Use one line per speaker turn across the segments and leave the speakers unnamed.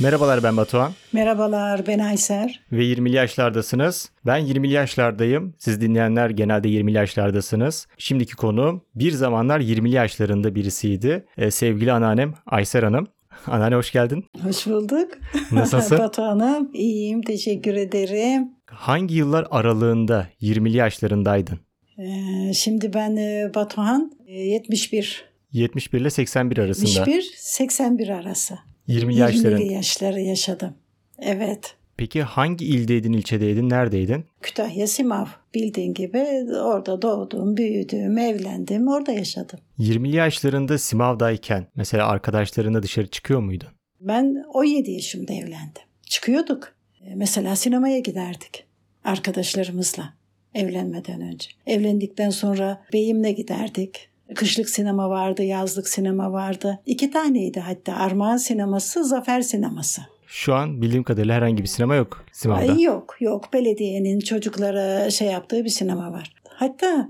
Merhabalar ben Batuhan
Merhabalar ben Ayser.
ve 20'li yaşlardasınız. Ben 20'li yaşlardayım. Siz dinleyenler genelde 20'li yaşlardasınız. Şimdiki konuğum bir zamanlar 20'li yaşlarında birisiydi. Ee, sevgili anneannem Ayser Hanım. Anneanne hoş geldin.
Hoş bulduk.
Nasılsın?
Batu Hanım iyiyim teşekkür ederim.
Hangi yıllar aralığında 20'li yaşlarındaydın?
Ee, şimdi ben e, Batuhan e, 71.
71 ile 81 arasında.
71 81 arası.
20
20'li
yaşların.
yaşları yaşadım. Evet.
Peki hangi ildeydin, ilçedeydin, neredeydin?
Kütahya Simav bildiğin gibi orada doğdum, büyüdüm, evlendim, orada yaşadım.
20'li yaşlarında Simav'dayken mesela arkadaşlarına dışarı çıkıyor muydun?
Ben 17 yaşımda evlendim. Çıkıyorduk. E, Mesela sinemaya giderdik arkadaşlarımızla evlenmeden önce. Evlendikten sonra beyimle giderdik. Kışlık sinema vardı, yazlık sinema vardı. İki taneydi hatta Armağan sineması, Zafer sineması.
Şu an bildiğim kadarıyla herhangi bir sinema yok Simav'da.
Ay yok yok belediyenin çocuklara şey yaptığı bir sinema var. Hatta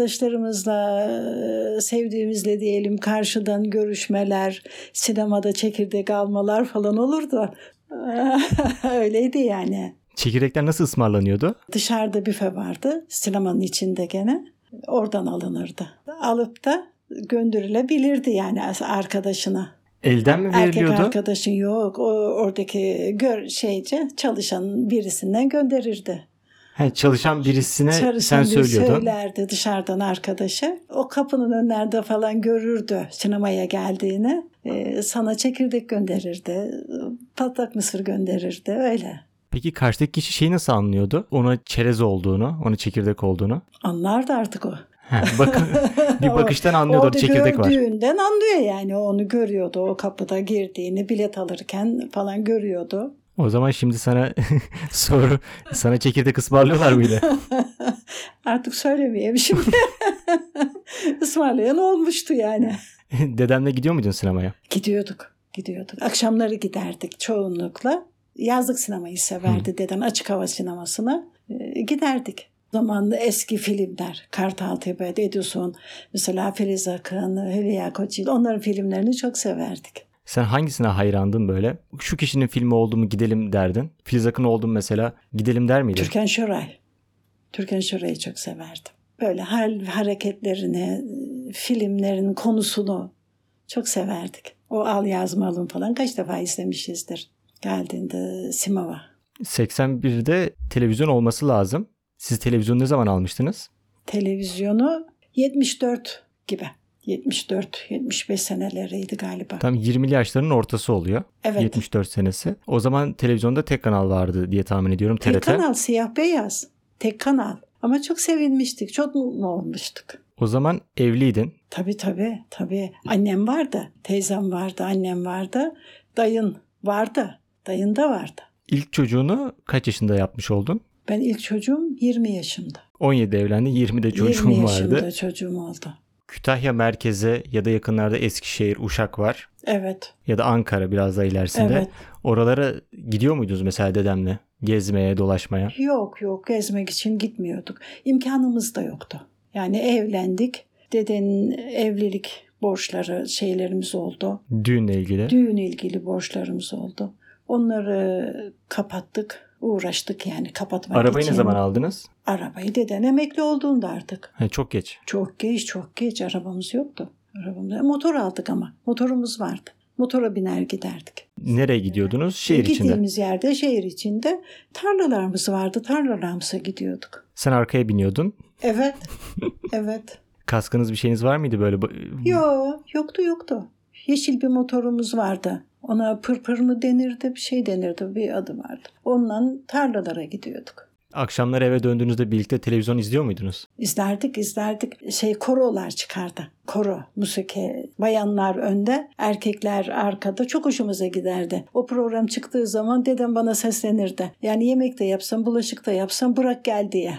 arkadaşlarımızla e, sevdiğimizle diyelim karşıdan görüşmeler, sinemada çekirdek almalar falan olurdu. Öyleydi yani.
Çekirdekler nasıl ısmarlanıyordu?
Dışarıda büfe vardı sinemanın içinde gene. Oradan alınırdı. Alıp da gönderilebilirdi yani arkadaşına.
Elden mi
Erkek
veriliyordu?
arkadaşın yok. O oradaki gör şeyce çalışan birisinden gönderirdi.
He, çalışan birisine
Çalışan
sen
biri
söylüyordun.
söylerdi dışarıdan arkadaşı. O kapının önlerinde falan görürdü sinemaya geldiğini. Ee, sana çekirdek gönderirdi. Patlak mısır gönderirdi öyle.
Peki karşıdaki kişi şeyi nasıl anlıyordu? Ona çerez olduğunu, ona çekirdek olduğunu.
Anlardı artık o.
He, bakın bir bakıştan anlıyordu
Orada
orada çekirdek var.
gördüğünden anlıyor yani. O Onu görüyordu o kapıda girdiğini bilet alırken falan görüyordu.
O zaman şimdi sana soru, sana çekirdek ısmarlıyorlar mıydı?
Artık söylemeyeyim şimdi. Ismarlayan olmuştu yani.
Dedemle gidiyor muydun sinemaya?
Gidiyorduk, gidiyorduk. Akşamları giderdik çoğunlukla. Yazlık sinemayı severdi deden açık hava sinemasına. Ee, giderdik. Zamanlı eski filmler, Kartal Tepe, Edison, mesela Filiz Akın, Hülya Koçil onların filmlerini çok severdik.
Sen hangisine hayrandın böyle? Şu kişinin filmi oldu mu gidelim derdin. Filiz Akın oldu mu mesela gidelim der miydin?
Türkan Şoray. Türkan Şoray'ı çok severdim. Böyle hal hareketlerini, filmlerin konusunu çok severdik. O Al Yazmalım falan kaç defa izlemişizdir. Geldiğinde Simava.
81'de televizyon olması lazım. Siz televizyonu ne zaman almıştınız?
televizyonu 74 gibi. 74 75 seneleriydi galiba.
Tam 20'li yaşların ortası oluyor.
evet.
74 senesi. O zaman televizyonda tek kanal vardı diye tahmin ediyorum.
Tek
TRT.
kanal siyah beyaz. Tek kanal. Ama çok sevinmiştik. Çok mutlu olmuştuk.
O zaman evliydin.
Tabii tabii tabii. Annem vardı. Teyzem vardı. Annem vardı. Dayın vardı. Dayın da vardı.
İlk çocuğunu kaç yaşında yapmış oldun?
Ben ilk çocuğum 20 yaşımda.
17'de evlendin, 20'de çocuğun
20
vardı.
yaşımda çocuğum oldu.
Kütahya merkeze ya da yakınlarda Eskişehir, Uşak var.
Evet.
Ya da Ankara biraz daha ilerisinde.
Evet.
Oralara gidiyor muydunuz mesela dedemle? Gezmeye, dolaşmaya.
Yok yok gezmek için gitmiyorduk. İmkanımız da yoktu. Yani evlendik. Dedenin evlilik borçları şeylerimiz oldu.
Düğünle ilgili.
Düğün ilgili borçlarımız oldu. Onları kapattık. Uğraştık yani kapatmak
Arabayı
için.
ne zaman aldınız?
Arabayı deden emekli olduğunda artık.
Ha, çok geç.
Çok geç çok geç arabamız yoktu. Arabamız, e, motor aldık ama motorumuz vardı. Motora biner giderdik.
Nereye gidiyordunuz? Şehir içinde.
Gittiğimiz yerde şehir içinde tarlalarımız vardı. Tarlalarımıza gidiyorduk.
Sen arkaya biniyordun.
Evet. evet.
Kaskınız bir şeyiniz var mıydı böyle? Ba-
Yo, yoktu yoktu. Yeşil bir motorumuz vardı. Ona pırpır mı denirdi, bir şey denirdi, bir adı vardı. Onunla tarlalara gidiyorduk.
Akşamlar eve döndüğünüzde birlikte televizyon izliyor muydunuz?
İzlerdik, izlerdik. Şey korolar çıkardı. Koro, musiki. Bayanlar önde, erkekler arkada. Çok hoşumuza giderdi. O program çıktığı zaman dedem bana seslenirdi. Yani yemek de yapsam, bulaşık da yapsam bırak gel diye.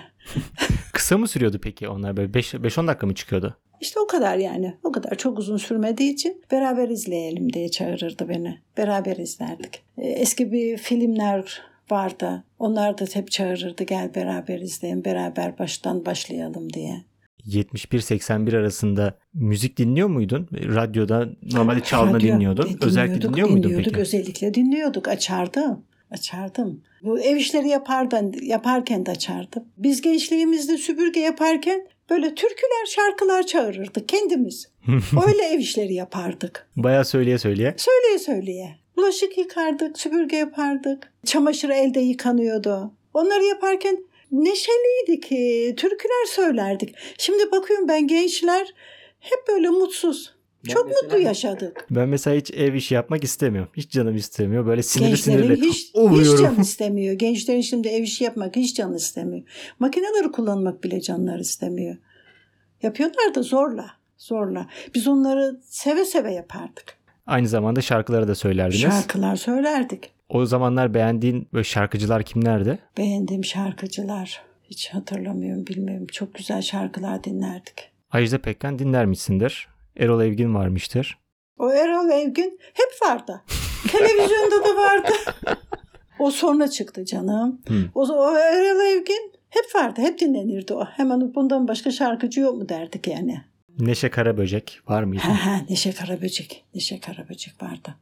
Kısa mı sürüyordu peki onlar böyle 5-10 dakika mı çıkıyordu?
İşte o kadar yani. O kadar çok uzun sürmediği için beraber izleyelim diye çağırırdı beni. Beraber izlerdik. Ee, Eski bir filmler vardı. Onlar da hep çağırırdı gel beraber izleyin, beraber baştan başlayalım diye.
71-81 arasında müzik dinliyor muydun? Radyoda normalde çaldığını
Radyo-
dinliyordun.
dinliyorduk,
Özellikle dinliyor muydun
dinliyorduk,
peki?
Özellikle dinliyorduk. Açardım. Açardım. Bu ev işleri yapardan, yaparken de açardım. Biz gençliğimizde süpürge yaparken böyle türküler, şarkılar çağırırdık kendimiz. Öyle ev işleri yapardık.
Bayağı söyleye söyleye.
Söyleye söyleye. Bulaşık yıkardık, süpürge yapardık. Çamaşır elde yıkanıyordu. Onları yaparken neşeliydik, e, türküler söylerdik. Şimdi bakıyorum ben gençler hep böyle mutsuz.
Ben
Çok
mesela-
mutlu yaşadık.
Ben mesela hiç ev işi yapmak istemiyorum. Hiç canım istemiyor. Böyle sinirli
Gençlerin
sinirli
hiç, hiç
oluyorum.
can istemiyor. Gençlerin şimdi ev işi yapmak hiç can istemiyor. Makineleri kullanmak bile canlar istemiyor. Yapıyorlar da zorla, zorla. Biz onları seve seve yapardık.
Aynı zamanda şarkıları da söylerdiniz.
Şarkılar söylerdik.
O zamanlar beğendiğin böyle şarkıcılar kimlerdi?
Beğendiğim şarkıcılar. Hiç hatırlamıyorum bilmiyorum. Çok güzel şarkılar dinlerdik.
Ajda Pekkan dinlermişsindir. Erol Evgin varmıştır.
O Erol Evgün hep vardı. Televizyonda da vardı. O sonra çıktı canım.
Hı.
O, o Erol Evgün hep vardı. Hep dinlenirdi o. Hemen bundan başka şarkıcı yok mu derdik yani.
Neşe Karaböcek var mıydı?
Ha ha Neşe Karaböcek. Neşe Karaböcek vardı.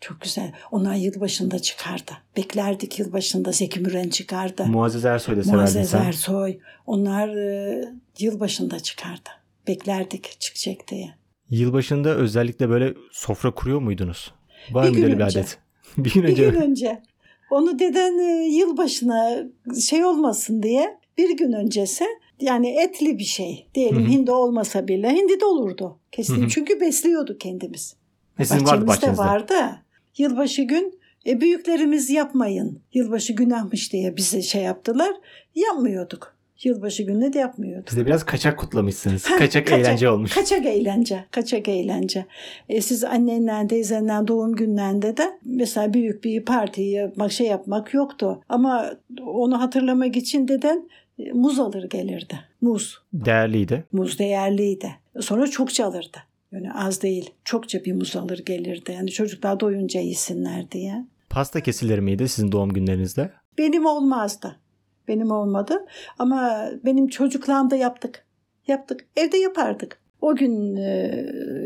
Çok güzel. Onlar yılbaşında çıkardı. Beklerdik yılbaşında Zeki Müren çıkardı.
Muazzez Ersoy da severdin
Muazzez
sen.
Ersoy. Onlar e, yılbaşında çıkardı. Beklerdik çıkacak diye.
Yılbaşında özellikle böyle sofra kuruyor muydunuz? Var
Bir
mıydı
gün
öyle bir
önce.
adet? Bir gün
Bir
önce.
gün önce. Onu deden e, yılbaşına şey olmasın diye bir gün öncesi yani etli bir şey
Hı
diyelim
hı.
hindi olmasa bile hindi de olurdu kesin.
Hı hı.
Çünkü besliyordu kendimiz.
E, sizin vardı bahçenizde.
Bahçemizde vardı. Yılbaşı gün e, büyüklerimiz yapmayın. Yılbaşı günahmış diye bize şey yaptılar. Yapmıyorduk. Yılbaşı günü de yapmıyorduk.
Siz de biraz kaçak kutlamışsınız.
Ha,
Kaçak, eğlence olmuş.
Kaçak eğlence, kaçak eğlence. E, siz annenden, teyzenden doğum günlerinde de mesela büyük bir parti yapmak, şey yapmak yoktu. Ama onu hatırlamak için deden e, muz alır gelirdi. Muz.
Değerliydi.
Muz değerliydi. Sonra çokça alırdı. Yani az değil. Çokça bir muz alır gelirdi. Yani çocuklar doyunca yesinler diye.
Pasta kesilir miydi sizin doğum günlerinizde?
Benim olmazdı. Benim olmadı. Ama benim çocukluğumda yaptık. Yaptık. Evde yapardık. O gün e,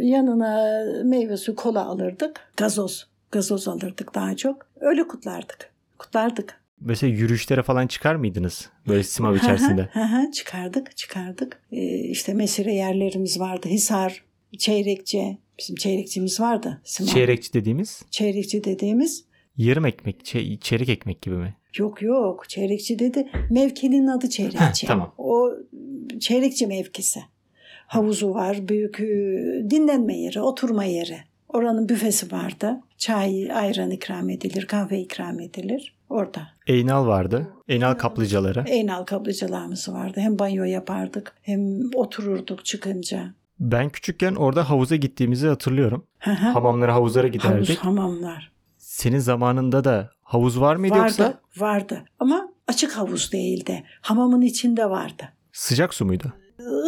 yanına meyve suyu kola alırdık. Gazoz. Gazoz alırdık daha çok. Öyle kutlardık. Kutlardık.
Mesela yürüyüşlere falan çıkar mıydınız? Böyle simav içerisinde.
Hı hı, hı hı, çıkardık, çıkardık. E, işte mesire yerlerimiz vardı. Hisar, Çeyrekçe. Bizim çeyrekçimiz vardı. Sinan.
Çeyrekçi dediğimiz
Çeyrekçi dediğimiz
yarım ekmek, çe- çeyrek ekmek gibi mi?
Yok yok çeyrekçi dedi. Mevkinin adı çeyrekçi.
Heh, tamam.
O çeyrekçi mevkisi. Havuzu var, büyük e, dinlenme yeri, oturma yeri. Oranın büfesi vardı. Çay, ayran ikram edilir, kahve ikram edilir. Orada.
Eynal vardı. Eynal kaplıcaları.
Eynal kaplıcalarımız vardı. Hem banyo yapardık, hem otururduk çıkınca.
Ben küçükken orada havuza gittiğimizi hatırlıyorum.
Hı hı.
Hamamlara havuzlara
Havuz,
giderdik.
hamamlar.
Senin zamanında da havuz var mıydı
Vardı,
yoksa?
vardı. Ama açık havuz değildi. Hamamın içinde vardı.
Sıcak su muydu?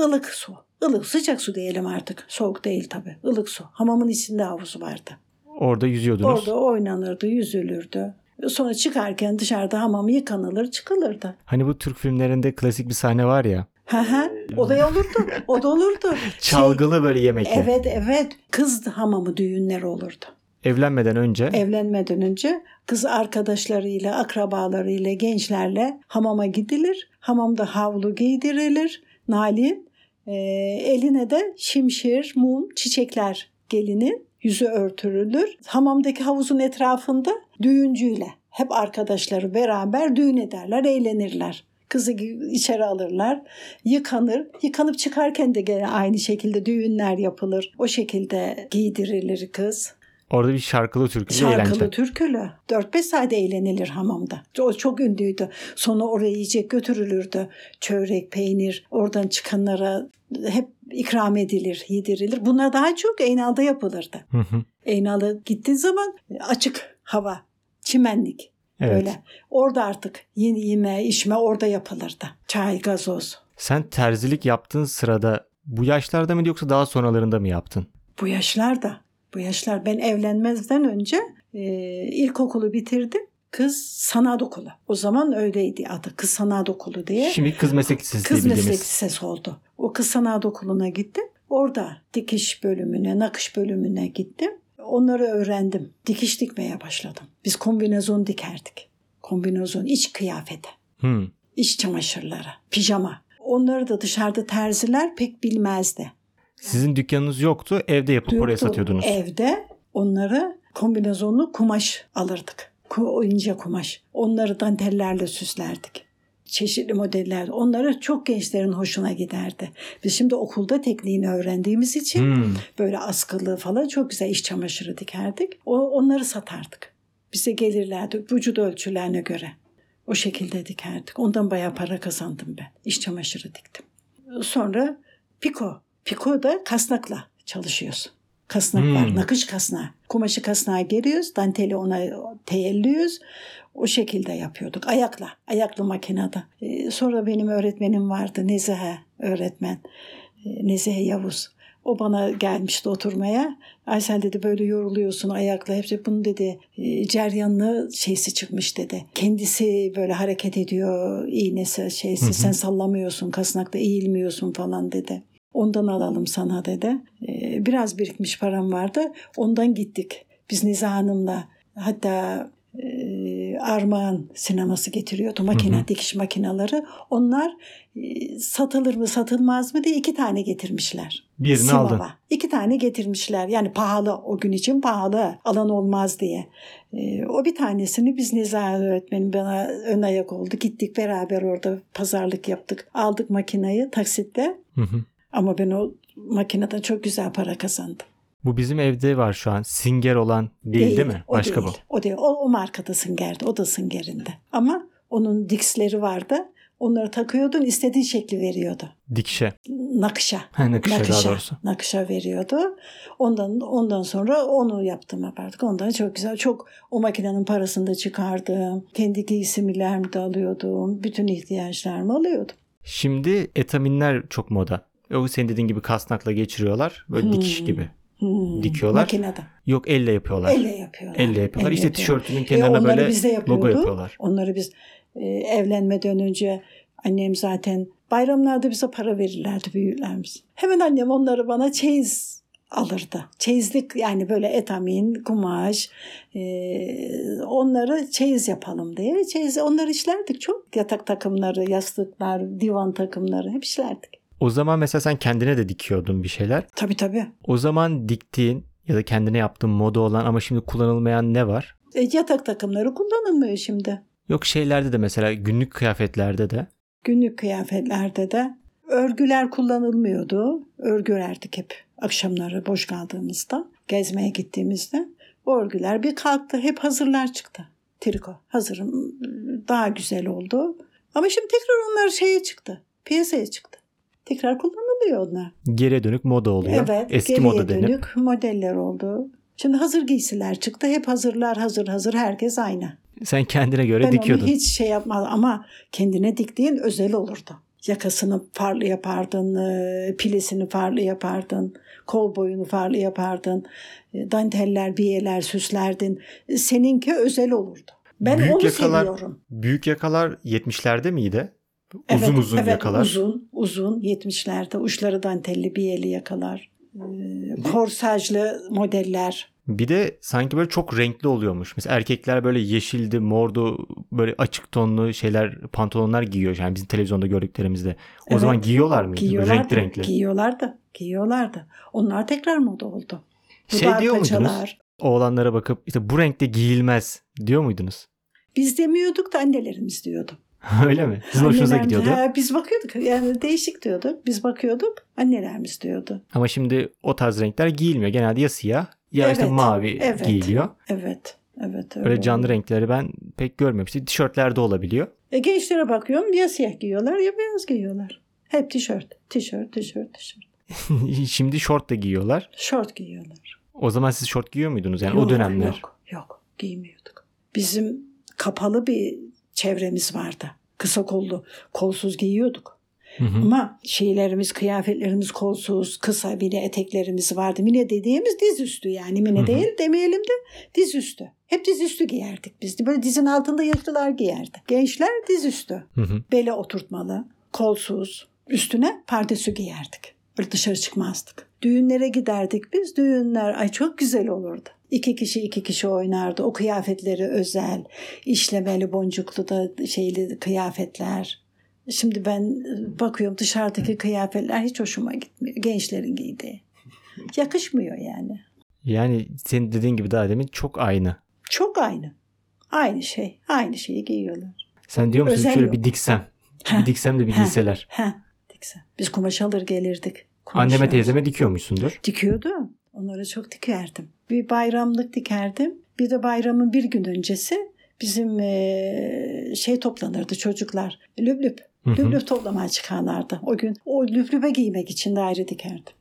ılık su. Ilık sıcak su diyelim artık. Soğuk değil tabii. Ilık su. Hamamın içinde havuzu vardı.
Orada yüzüyordunuz.
Orada oynanırdı, yüzülürdü. Sonra çıkarken dışarıda hamam yıkanılır, çıkılırdı.
Hani bu Türk filmlerinde klasik bir sahne var ya.
Hı hı. O da olurdu. O da olurdu.
Çalgılı böyle yemekler.
Şey, evet evet. Kız hamamı düğünler olurdu.
Evlenmeden önce
Evlenmeden önce kız arkadaşlarıyla, akrabalarıyla, gençlerle hamama gidilir. Hamamda havlu giydirilir. Nalin e, eline de şimşir, mum, çiçekler gelinin yüzü örtülür. Hamamdaki havuzun etrafında düğüncüyle hep arkadaşları beraber düğün ederler, eğlenirler. Kızı gi- içeri alırlar, yıkanır. Yıkanıp çıkarken de gene aynı şekilde düğünler yapılır. O şekilde giydirilir kız.
orada bir şarkılı türkülü Şey eğlence.
Şarkılı türkülü. 4-5 saat eğlenilir hamamda. O çok ünlüydü. Sonra oraya yiyecek götürülürdü. Çörek, peynir oradan çıkanlara hep ikram edilir, yedirilir. Bunlar daha çok Eynal'da yapılırdı.
Hı hı.
Eynal'a gittiğin zaman açık hava, çimenlik.
evet.
Öyle. Orada artık yeni yeme, içme orada yapılırdı. Çay, gazoz.
Sen terzilik yaptığın sırada bu yaşlarda mıydı yoksa daha sonralarında mı yaptın?
Bu yaşlarda, bu yaşlar ben evlenmezden önce e, ilkokulu bitirdim. Kız sanat okulu. O zaman öyleydi adı. Kız sanat okulu diye.
Şimdi kız meslek lisesi diye
Kız
bildiğimiz.
meslek lisesi oldu. O kız sanat okuluna gittim. Orada dikiş bölümüne, nakış bölümüne gittim. Onları öğrendim. Dikiş dikmeye başladım. Biz kombinezon dikerdik. Kombinezon iç kıyafete,
Hmm.
iç çamaşırlara, pijama. Onları da dışarıda terziler pek bilmezdi.
Sizin dükkanınız yoktu. Evde yapıp oraya
Yoktu.
satıyordunuz.
Evde onları kombinezonlu kumaş alırdık. Ku, ince kumaş. Onları dantellerle süslerdik. Çeşitli modeller. Onları çok gençlerin hoşuna giderdi. Biz şimdi okulda tekniğini öğrendiğimiz için
Hmm.
böyle askılı falan çok güzel iş çamaşırı dikerdik. O, onları satardık. Bize gelirlerdi vücut ölçülerine göre. O şekilde dikerdik. Ondan bayağı para kazandım ben. İş çamaşırı diktim. Sonra piko. Piko da kasnakla çalışıyoruz. Kasnak var.
Hmm.
Nakış kasnağı. Kumaşı kasnağa geriyoruz. Danteli ona teyelliyoruz. O şekilde yapıyorduk. Ayakla. Ayaklı makinede. Ee, sonra benim öğretmenim vardı. Nezihe öğretmen. Ee, Nezihe Yavuz. O bana gelmişti oturmaya. Aysel dedi böyle yoruluyorsun ayakla. Hepsi bunu dedi e, ceryanlı şeysi çıkmış dedi. Kendisi böyle hareket ediyor iğnesi şeysi.
Hı hı.
Sen sallamıyorsun kasnakta eğilmiyorsun falan dedi. Ondan alalım sana dedi. E, Biraz birikmiş param vardı. Ondan gittik. Biz Niza Hanım'la hatta e, Armağan sineması getiriyordu makine
Hı hı.
dikiş makineleri. Onlar e, satılır mı satılmaz mı diye iki tane getirmişler.
Birini
Simava.
aldın.
İki tane getirmişler. Yani pahalı o gün için pahalı. Alan olmaz diye. Ee, o bir tanesini biz Nizam öğretmenim bana ön ayak oldu. Gittik beraber orada pazarlık yaptık. Aldık makinayı taksitle.
Hı hı.
Ama ben o makineden çok güzel para kazandım.
Bu bizim evde var şu an. Singer olan değil değil, mi?
O
Başka
değil. O değil. O, o markada süngerdi. O da süngerinde. Ama onun diksleri vardı. Onları takıyordun istediğin şekli veriyordu.
bu. Dikişe.
Nakışa.
Ha, nakışa daha
nakışa,
doğrusu.
nakışa veriyordu. Ondan ondan sonra onu yaptım yapardık. Ondan çok güzel. Çok o makinenin parasını da çıkardım. Kendi giysimlerimi de alıyordum. Bütün ihtiyaçlarımı alıyordum.
Şimdi etaminler çok moda. O senin dediğin gibi kasnakla geçiriyorlar. Böyle
Hmm.
dikiş gibi.
Hmm,
Dikiyorlar.
Makinede.
Yok elle yapıyorlar.
Elle yapıyorlar.
Elle yapıyorlar. işte
yapıyorlar.
tişörtünün
E,
kenarına
onları
böyle
biz de yapıyorduk.
logo yapıyorlar.
Onları biz e, evlenmeden önce annem zaten bayramlarda bize para verirlerdi büyüklerimiz. Hemen annem onları bana çeyiz alırdı. Çeyizlik yani böyle etamin, kumaş e, onları çeyiz yapalım diye. Çeyiz onları işlerdik çok. Yatak takımları, yastıklar, divan takımları hep işlerdik.
O zaman mesela sen kendine de dikiyordun bir şeyler.
Tabii tabii.
O zaman diktiğin ya da kendine yaptığın moda olan ama şimdi kullanılmayan ne var?
E, yatak takımları kullanılmıyor şimdi.
Yok şeylerde de mesela günlük kıyafetlerde de
Günlük kıyafetlerde de örgüler kullanılmıyordu. Örgü örerdik hep akşamları boş kaldığımızda, gezmeye gittiğimizde. O örgüler bir kalktı, hep hazırlar çıktı. Triko hazırım daha güzel oldu. Ama şimdi tekrar onlar şeye çıktı, piyasaya çıktı. Tekrar kullanılıyor onlar.
geriye dönük moda oluyor.
Evet,
Eski
geriye
moda denip.
dönük modeller oldu. Şimdi hazır giysiler çıktı. Hep hazırlar, hazır hazır. Herkes aynı.
Sen kendine göre
Ben
dikiyordun.
onu hiç şey yapmaz ama kendine diktiğin özel olurdu. Yakasını farlı yapardın, e, pilesini farlı yapardın, kol boyunu farlı yapardın, e, danteller, biyeler süslerdin. E, Seninki özel olurdu. Ben
Büyük
onu
yakalar-
seviyorum.
Büyük yakalar 70'lerde miydi? uzun uzun
evet,
yakalar.
Uzun, uzun 70'lerde uçları dantelli, biyeli yakalar. e, Korsajlı modeller.
Bir de sanki böyle çok renkli oluyormuş. Mesela erkekler böyle yeşildi, mordu, böyle açık tonlu şeyler, pantolonlar giyiyor. Yani bizim televizyonda gördüklerimizde. O
Evet.
zaman giyiyorlar mıydı? Böyle
Giyiyorlardı,
renkli renkli.
giyiyorlardı, giyiyorlardı. Onlar tekrar moda oldu.
şey
Dudak
diyor muydunuz?
paçalar,
Oğlanlara bakıp işte bu renkte giyilmez diyor muydunuz?
Biz demiyorduk da annelerimiz diyordu.
Öyle mi? Sizin hoşunuza
Anneler-
gidiyordu.
Ha, biz bakıyorduk yani değişik diyordu. Biz bakıyorduk annelerimiz diyordu.
Ama şimdi o tarz renkler giyilmiyor. Genelde ya siyah ya işte
Evet,
mavi
evet.
giyiliyor.
Evet. Evet.
Böyle canlı
oldu.
renkleri ben pek görmemiştim. Tişörtlerde olabiliyor.
E, gençlere bakıyorum ya siyah giyiyorlar ya beyaz giyiyorlar. Hep tişört. Tişört, tişört, tişört.
Şimdi şort da giyiyorlar.
Şort giyiyorlar.
O zaman siz şort giyiyor muydunuz yani o
Yok,
dönemler?
Yok, yok. Giymiyorduk. Bizim kapalı bir çevremiz vardı. Kısa kollu. Kolsuz giyiyorduk.
Hı hı.
Ama şeylerimiz, kıyafetlerimiz kolsuz, kısa mini eteklerimiz vardı. Mini dediğimiz diz üstü yani. Mini
Hı hı.
değil demeyelim de diz üstü. Hep diz üstü giyerdik biz. de. Böyle dizin altında yaşlılar giyerdi. Gençler diz üstü.
Hı hı.
Bele oturtmalı, kolsuz, Üstüne pardesü giyerdik. Böyle dışarı çıkmazdık. Düğünlere giderdik biz. Düğünler ay çok güzel olurdu. İki kişi iki kişi oynardı. O kıyafetleri özel, işlemeli boncuklu da şeyli kıyafetler. Şimdi ben e, bakıyorum dışarıdaki kıyafetler hiç hoşuma gitmiyor. Gençlerin giydiği. Yakışmıyor yani.
Yani senin dediğin gibi daha demin çok aynı.
Çok aynı. Aynı şey. Aynı şeyi giyiyorlar.
Sen diyor musun
Özel
şöyle
yok.
bir diksem.
Heh.
Bir diksem de bir
Heh.
giyseler.
He. Dikse. Biz kumaş alır gelirdik. Kumaş
Anneme
yok.
teyzeme dikiyormuşsundur.
Dikiyordum. Onlara çok dikerdim. Bir bayramlık dikerdim. Bir de bayramın bir gün öncesi bizim eee, şey toplanırdı çocuklar. Lüblüp.
Hı hı.
Lüblüp toplamaya çıkarlardı. O gün o lüblübe giymek için de ayrı dikerdim.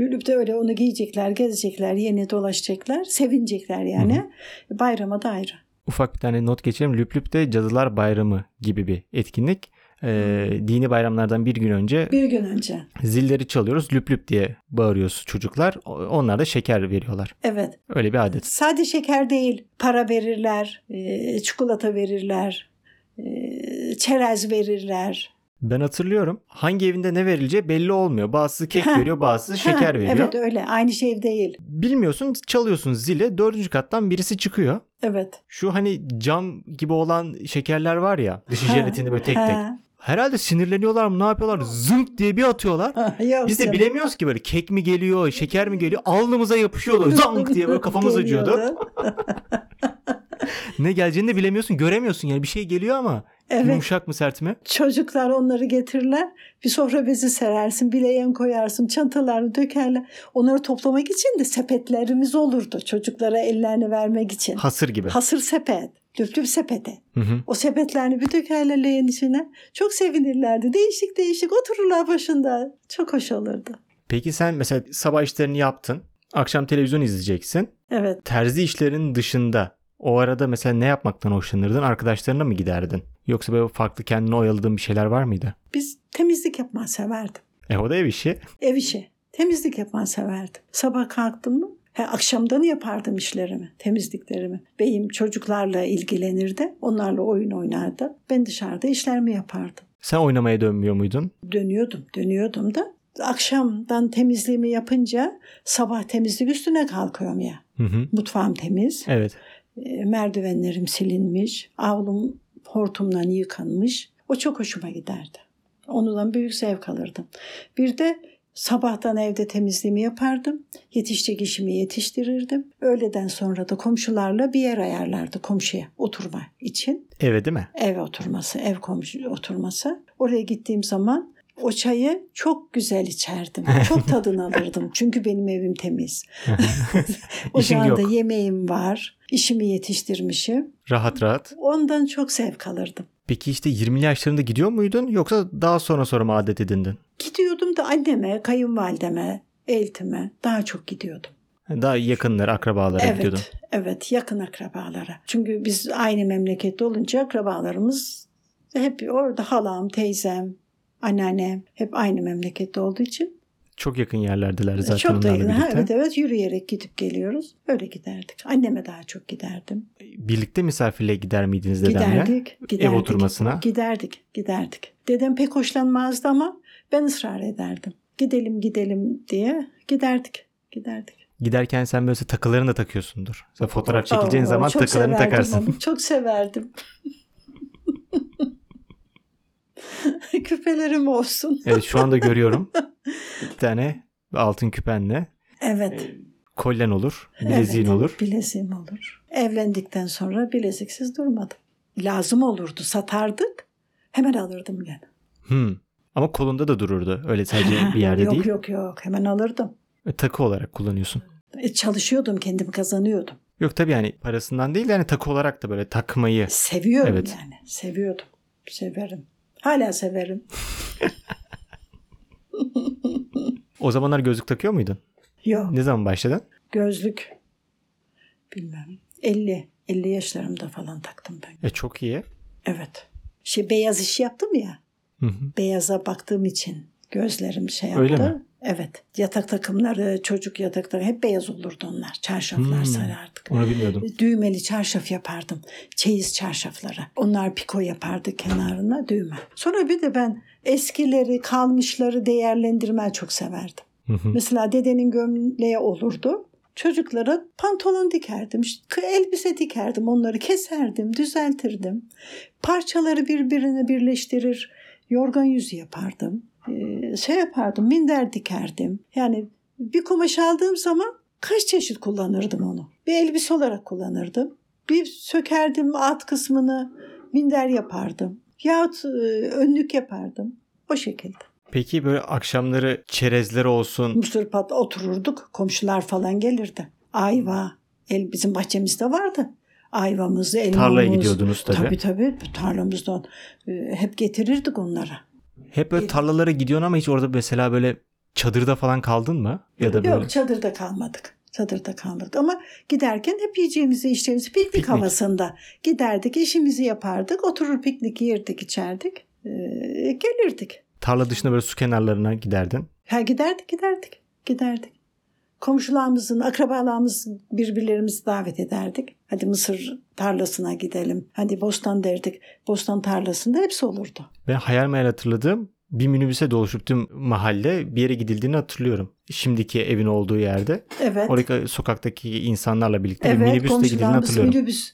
Lüblüp de öyle onu giyecekler, gezecekler, yeni dolaşacaklar, sevinecekler yani. Bayrama da ayrı.
Ufak bir tane not geçelim. Lüp Lüp'te Cadılar Bayramı gibi bir etkinlik. Ee, dini bayramlardan bir gün önce
Hmm. Bir gün önce.
zilleri çalıyoruz. Lüp Lüp diye bağırıyoruz çocuklar. O- Onlar da şeker veriyorlar.
Evet.
Öyle bir adet.
Sadece şeker değil, para verirler, e, çikolata verirler, e, çerez verirler.
Ben hatırlıyorum. Hangi evinde ne verileceği belli olmuyor. Bazısı kek
Ha.
veriyor, bazısı şeker
Ha,
veriyor.
Evet öyle, aynı şey değil.
Bilmiyorsun çalıyorsun zile. Dördüncü kattan birisi çıkıyor.
Evet.
Şu hani cam gibi olan şekerler var ya. Dışı
Ha,
jelatini böyle tek tek.
ha.
Herhalde sinirleniyorlar mı ne yapıyorlar? Zınk diye bir atıyorlar.
Yok
Biz de
canım.
bilemiyoruz ki böyle kek mi geliyor, şeker mi geliyor. Alnımıza yapışıyorlar. Zank diye böyle kafamız acıyordu.
Geliyordu.
Ne geleceğini de bilemiyorsun, göremiyorsun yani. Bir şey geliyor ama
Evet.
yumuşak mı sert mi?
Çocuklar onları getirirler. Bir sofra bezi serersin, bileğen koyarsın, çantalarını dökerler. Onları toplamak için de sepetlerimiz olurdu. Çocuklara ellerini vermek için.
Hasır gibi.
Hasır sepet, lüplüp sepeti.
Hı hı.
O sepetlerini bir dökerler leğen içine. Çok sevinirlerdi. Değişik değişik otururlar başında. Çok hoş olurdu.
Peki sen mesela sabah işlerini yaptın. Akşam televizyon izleyeceksin.
Evet.
Terzi işlerinin dışında o arada mesela ne yapmaktan hoşlanırdın? Arkadaşlarına mı giderdin? Yoksa böyle farklı kendini oyaladığın bir şeyler var mıydı?
Biz temizlik yapmayı severdim.
E o da ev işi.
Ev işi. Temizlik yapmayı severdim. Sabah kalktım mı? He, akşamdan yapardım işlerimi, temizliklerimi. Beyim çocuklarla ilgilenirdi. Onlarla oyun oynardı. Ben dışarıda işlerimi yapardım.
Sen oynamaya dönmüyor muydun?
Dönüyordum, dönüyordum da. Akşamdan temizliğimi yapınca sabah temizlik üstüne kalkıyorum ya.
Hı hı.
Mutfağım temiz.
Evet.
E, merdivenlerim silinmiş, avlum hortumdan yıkanmış. O çok hoşuma giderdi. Ondan büyük zevk alırdım. Bir de sabahtan evde temizliğimi yapardım. Yetişecek işimi yetiştirirdim. Öğleden sonra da komşularla bir yer ayarlardı komşuya oturma için.
Eve değil mi?
Ev oturması, ev komşu oturması. Oraya gittiğim zaman o çayı çok güzel içerdim. Çok tadını alırdım. Çünkü benim evim temiz.
İşin yok.
Ocağında yemeğim var. İşimi yetiştirmişim.
Rahat rahat.
Ondan çok zevk alırdım.
Peki işte 20'li yaşlarında gidiyor muydun yoksa daha sonra sonra mı adet edindin?
Gidiyordum da anneme, kayınvalideme, eltime daha çok gidiyordum.
Daha yakınlara, akrabalara gidiyordun.
Evet, evet yakın akrabalara. Çünkü biz aynı memlekette olunca akrabalarımız hep orada halam, teyzem, anneannem hep aynı memlekette olduğu için
Çok yakın yerlerdiler zaten
E, çok da
onlarla
yakın. Ha,
birlikte.
evet evet yürüyerek gidip geliyoruz. Öyle giderdik. Anneme daha çok giderdim.
Birlikte misafirliğe gider miydiniz dedemle?
Giderdik, giderdik.
Ev oturmasına.
Giderdik, giderdik. Dedem pek hoşlanmazdı ama ben ısrar ederdim. Gidelim, gidelim diye giderdik, giderdik.
Giderken sen böyle takılarını da takıyorsundur. Mesela fotoğraf çekileceğin
Oo,
zaman
çok
takılarını
severdim
takarsın.
onu, çok severdim. Küpelerim olsun.
evet şu anda görüyorum. Bir tane altın küpenle
Evet.
kolyen olur, bileziğin
evet,
olur.
Bileziğim olur. Evlendikten sonra bileziksiz durmadım. Lazım olurdu, satardık. Hemen alırdım yani.
Hmm. Ama kolunda da dururdu. Öyle sadece bir yerde
yok,
değil.
Yok yok yok hemen alırdım.
E, Takı olarak kullanıyorsun.
E, çalışıyordum kendimi kazanıyordum.
Yok tabii yani parasından değil de yani takı olarak da böyle takmayı.
Seviyorum
Evet.
yani. Seviyordum. Severim. Hala severim.
O zamanlar gözlük takıyor muydun?
Yok.
Ne zaman başladın?
Gözlük. Bilmem. 50. 50 yaşlarımda falan taktım ben.
E çok iyi.
Evet. Şey beyaz iş yaptım ya.
Hı hı.
Beyaza baktığım için gözlerim şey yaptı.
Öyle mi?
Evet. Yatak takımları, çocuk yatakları hep beyaz olurdu onlar. Çarşaflar
Hmm.
sarardık.
Onu bilmiyordum.
Düğmeli çarşaf yapardım. Çeyiz çarşafları. Onlar piko yapardı kenarına düğme. Sonra bir de ben eskileri, kalmışları değerlendirmeyi çok severdim.
Hı hı.
Mesela dedenin gömleği olurdu. Çocuklara pantolon dikerdim, işte elbise dikerdim, onları keserdim, düzeltirdim. Parçaları birbirine birleştirir, yorgan yüzü yapardım. Ee, şey yapardım, minder dikerdim. Yani bir kumaş aldığım zaman kaç çeşit kullanırdım onu. Bir elbise olarak kullanırdım. Bir sökerdim alt kısmını, minder yapardım. Yahut e, önlük yapardım. O şekilde.
Peki böyle akşamları çerezler olsun.
Mısır pat otururduk. Komşular falan gelirdi. Ayva. El, bizim bahçemizde vardı. Ayvamızı, elmamızı.
Tarlaya gidiyordunuz tabii.
Tabii tabii. Tarlamızdan e, hep getirirdik onlara.
Hep böyle tarlalara gidiyorsun ama hiç orada mesela böyle çadırda falan kaldın mı? Ya da böyle
Yok çadırda kalmadık. Çadırda kalmadık ama giderken hep yiyeceğimizi içeceğimizi piknik,
Piknik.
havasında giderdik işimizi yapardık oturur piknik yerdik içerdik e, gelirdik.
tarla dışında böyle su kenarlarına giderdin.
Ha giderdik giderdik giderdik. Komşularımızın, akrabalarımız birbirlerimizi davet ederdik. Hadi mısır tarlasına gidelim. Hadi bostan derdik. Bostan tarlasında hepsi olurdu.
Ben hayal meyal hatırladığım bir minibüse doluşup tüm mahalle bir yere gidildiğini hatırlıyorum. Şimdiki evin olduğu yerde.
Evet.
Oradaki sokaktaki insanlarla birlikte bir
evet.
minibüsle gidildiğini
Komşularımız
hatırlıyorum.
minibüs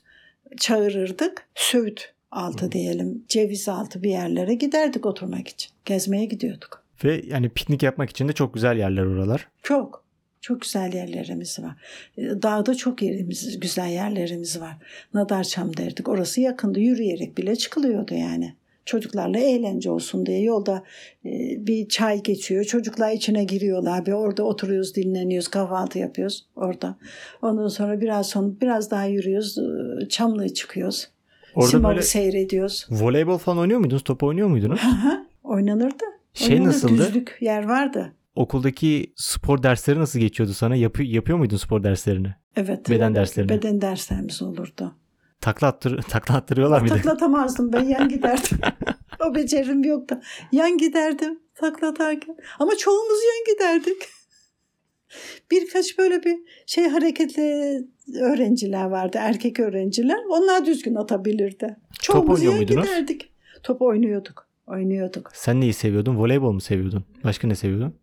çağırırdık. Söğüt altı diyelim. Ceviz altı bir yerlere giderdik oturmak için. Gezmeye gidiyorduk.
Ve yani piknik yapmak için de çok güzel yerler oralar.
Çok. Çok güzel yerlerimiz var. E, Dağda çok yerimiz, güzel yerlerimiz var. Nadarçam derdik. Orası yakında yürüyerek bile çıkılıyordu yani. Çocuklarla eğlence olsun diye yolda e, bir çay geçiyor. Çocuklar içine giriyorlar. Bir orada oturuyoruz, dinleniyoruz, kahvaltı yapıyoruz orada. Ondan sonra biraz sonra biraz daha yürüyoruz. e, Çamlı'ya çıkıyoruz.
Orada
Simav'ı
böyle
seyrediyoruz.
voleybol falan oynuyor muydunuz? Top oynuyor muydunuz?
Aha, Oynanırdı.
Şey
Oynanır,
nasıldı?
Düzlük yer vardı.
Okuldaki spor dersleri nasıl geçiyordu sana? Yapı- yapıyor muydun spor derslerini?
Evet.
Beden derslerini.
Beden derslerimiz olurdu.
Takla, attır- takla attırıyorlar mıydı?
Taklatamazdım ben yan giderdim. o becerim yoktu. Yan giderdim taklatarken. Ama çoğumuz yan giderdik. Birkaç böyle bir şey hareketli öğrenciler vardı. Erkek öğrenciler. Onlar düzgün atabilirdi. Çoğumuz
oynuyor
yan
muydunuz?
giderdik. Top oynuyorduk. Oynuyorduk.
Sen neyi seviyordun? Voleybol mu seviyordun? Başka ne seviyordun?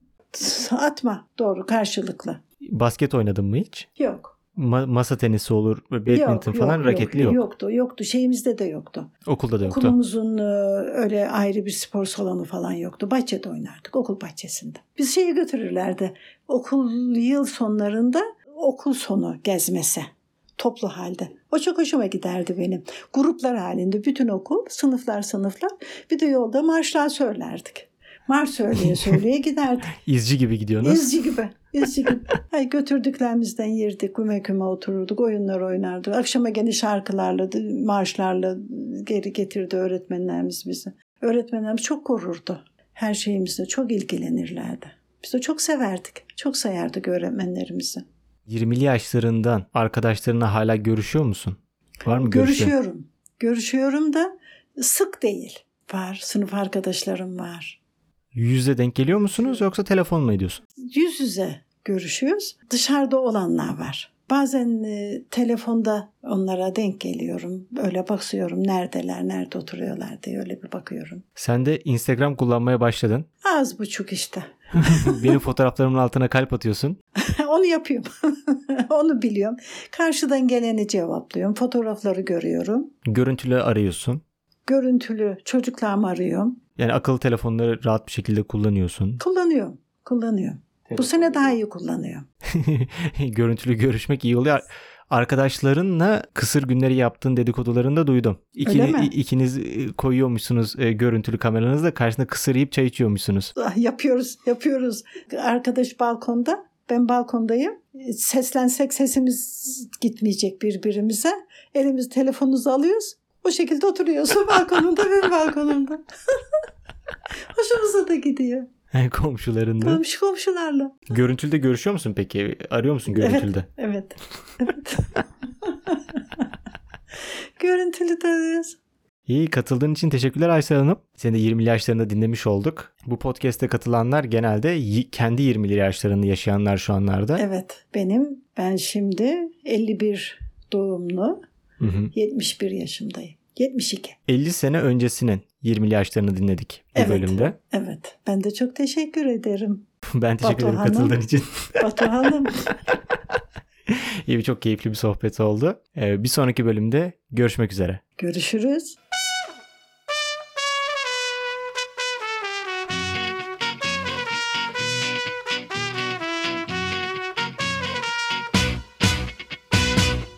Atma. Doğru. Karşılıklı.
Basket oynadın mı hiç?
Yok.
Ma- masa tenisi olur, badminton falan raketli yok.
Yoktu. Yoktu. Şeyimizde de yoktu.
Okulda da yoktu.
Okulumuzun e, öyle ayrı bir spor salonu falan yoktu. Bahçede oynardık, okul bahçesinde. Biz şeye götürürlerdi. Okul yıl sonlarında okul sonu gezmesi toplu halde. O çok hoşuma giderdi benim. Gruplar halinde bütün okul, sınıflar sınıflar. Bir de yolda marşlar söylerdik. Marş söyleye söyleye giderdik.
İzci gibi gidiyorsunuz.
İzci gibi. İzci gibi. Ay götürdüklerimizden yerdik. Küme küme otururduk. Oyunlar oynardık. Akşama gene şarkılarla, marşlarla geri getirdi öğretmenlerimiz bizi. Öğretmenlerimiz çok korurdu. Her şeyimizle çok ilgilenirlerdi. Biz de çok severdik. Çok sayardık öğretmenlerimizi.
20'li yaşlarından arkadaşlarına hala görüşüyor musun? Var mı görüşüyor?
Görüşüyorum. Görüşüyorum da sık değil. Var. Sınıf arkadaşlarım var.
Yüzde denk geliyor musunuz yoksa telefon mu ediyorsun?
yüz yüze görüşüyoruz. Dışarıda olanlar var. Bazen e, telefonda onlara denk geliyorum. Öyle bakıyorum neredeler, nerede oturuyorlar diye öyle bir bakıyorum.
Sen de Instagram kullanmaya başladın.
Az buçuk işte.
Benim fotoğraflarımın altına kalp atıyorsun.
Onu yapıyorum. Onu biliyorum. Karşıdan geleni cevaplıyorum. Fotoğrafları görüyorum.
Görüntülü arıyorsun.
Görüntülü çocuklarımı arıyorum.
Yani akıllı telefonları rahat bir şekilde kullanıyorsun.
Kullanıyorum. Kullanıyorum. Bu sene daha iyi kullanıyorum.
Görüntülü görüşmek iyi oluyor. Arkadaşlarınla kısır günleri yaptığın dedikodularını da duydum. İkini,
Öyle mi?
i- ikiniz e, koyuyormuşsunuz e, görüntülü kameranızla karşısında kısır yiyip çay içiyormuşsunuz.
Ah, yapıyoruz, yapıyoruz. Arkadaş balkonda, ben balkondayım. Seslensek sesimiz gitmeyecek birbirimize. Elimiz telefonumuzu alıyoruz. O şekilde oturuyoruz. O balkonunda, benim balkonumda. Hoşumuza da gidiyor.
Komşularınla.
Komşu komşularla.
Görüntülü de görüşüyor musun peki? Arıyor musun görüntülü de?
Evet. Evet. Görüntülü de arıyoruz.
İyi katıldığın için teşekkürler Aysel Hanım. Seni de 20 yaşlarında dinlemiş olduk. Bu podcast'te katılanlar genelde y- kendi 20 yaşlarını yaşayanlar şu anlarda.
Evet benim ben şimdi 51 doğumlu
Hı hı.
71 yaşındayım. 72.
50 sene öncesinin 20 yaşlarını dinledik bu
Evet.
bölümde.
Evet ben de çok teşekkür ederim
Ben teşekkür ederim
Batuhan'ın-
katıldığın için.
Batu Hanım.
İyi çok keyifli bir sohbet oldu. Ee, Bir sonraki bölümde görüşmek üzere.
Görüşürüz.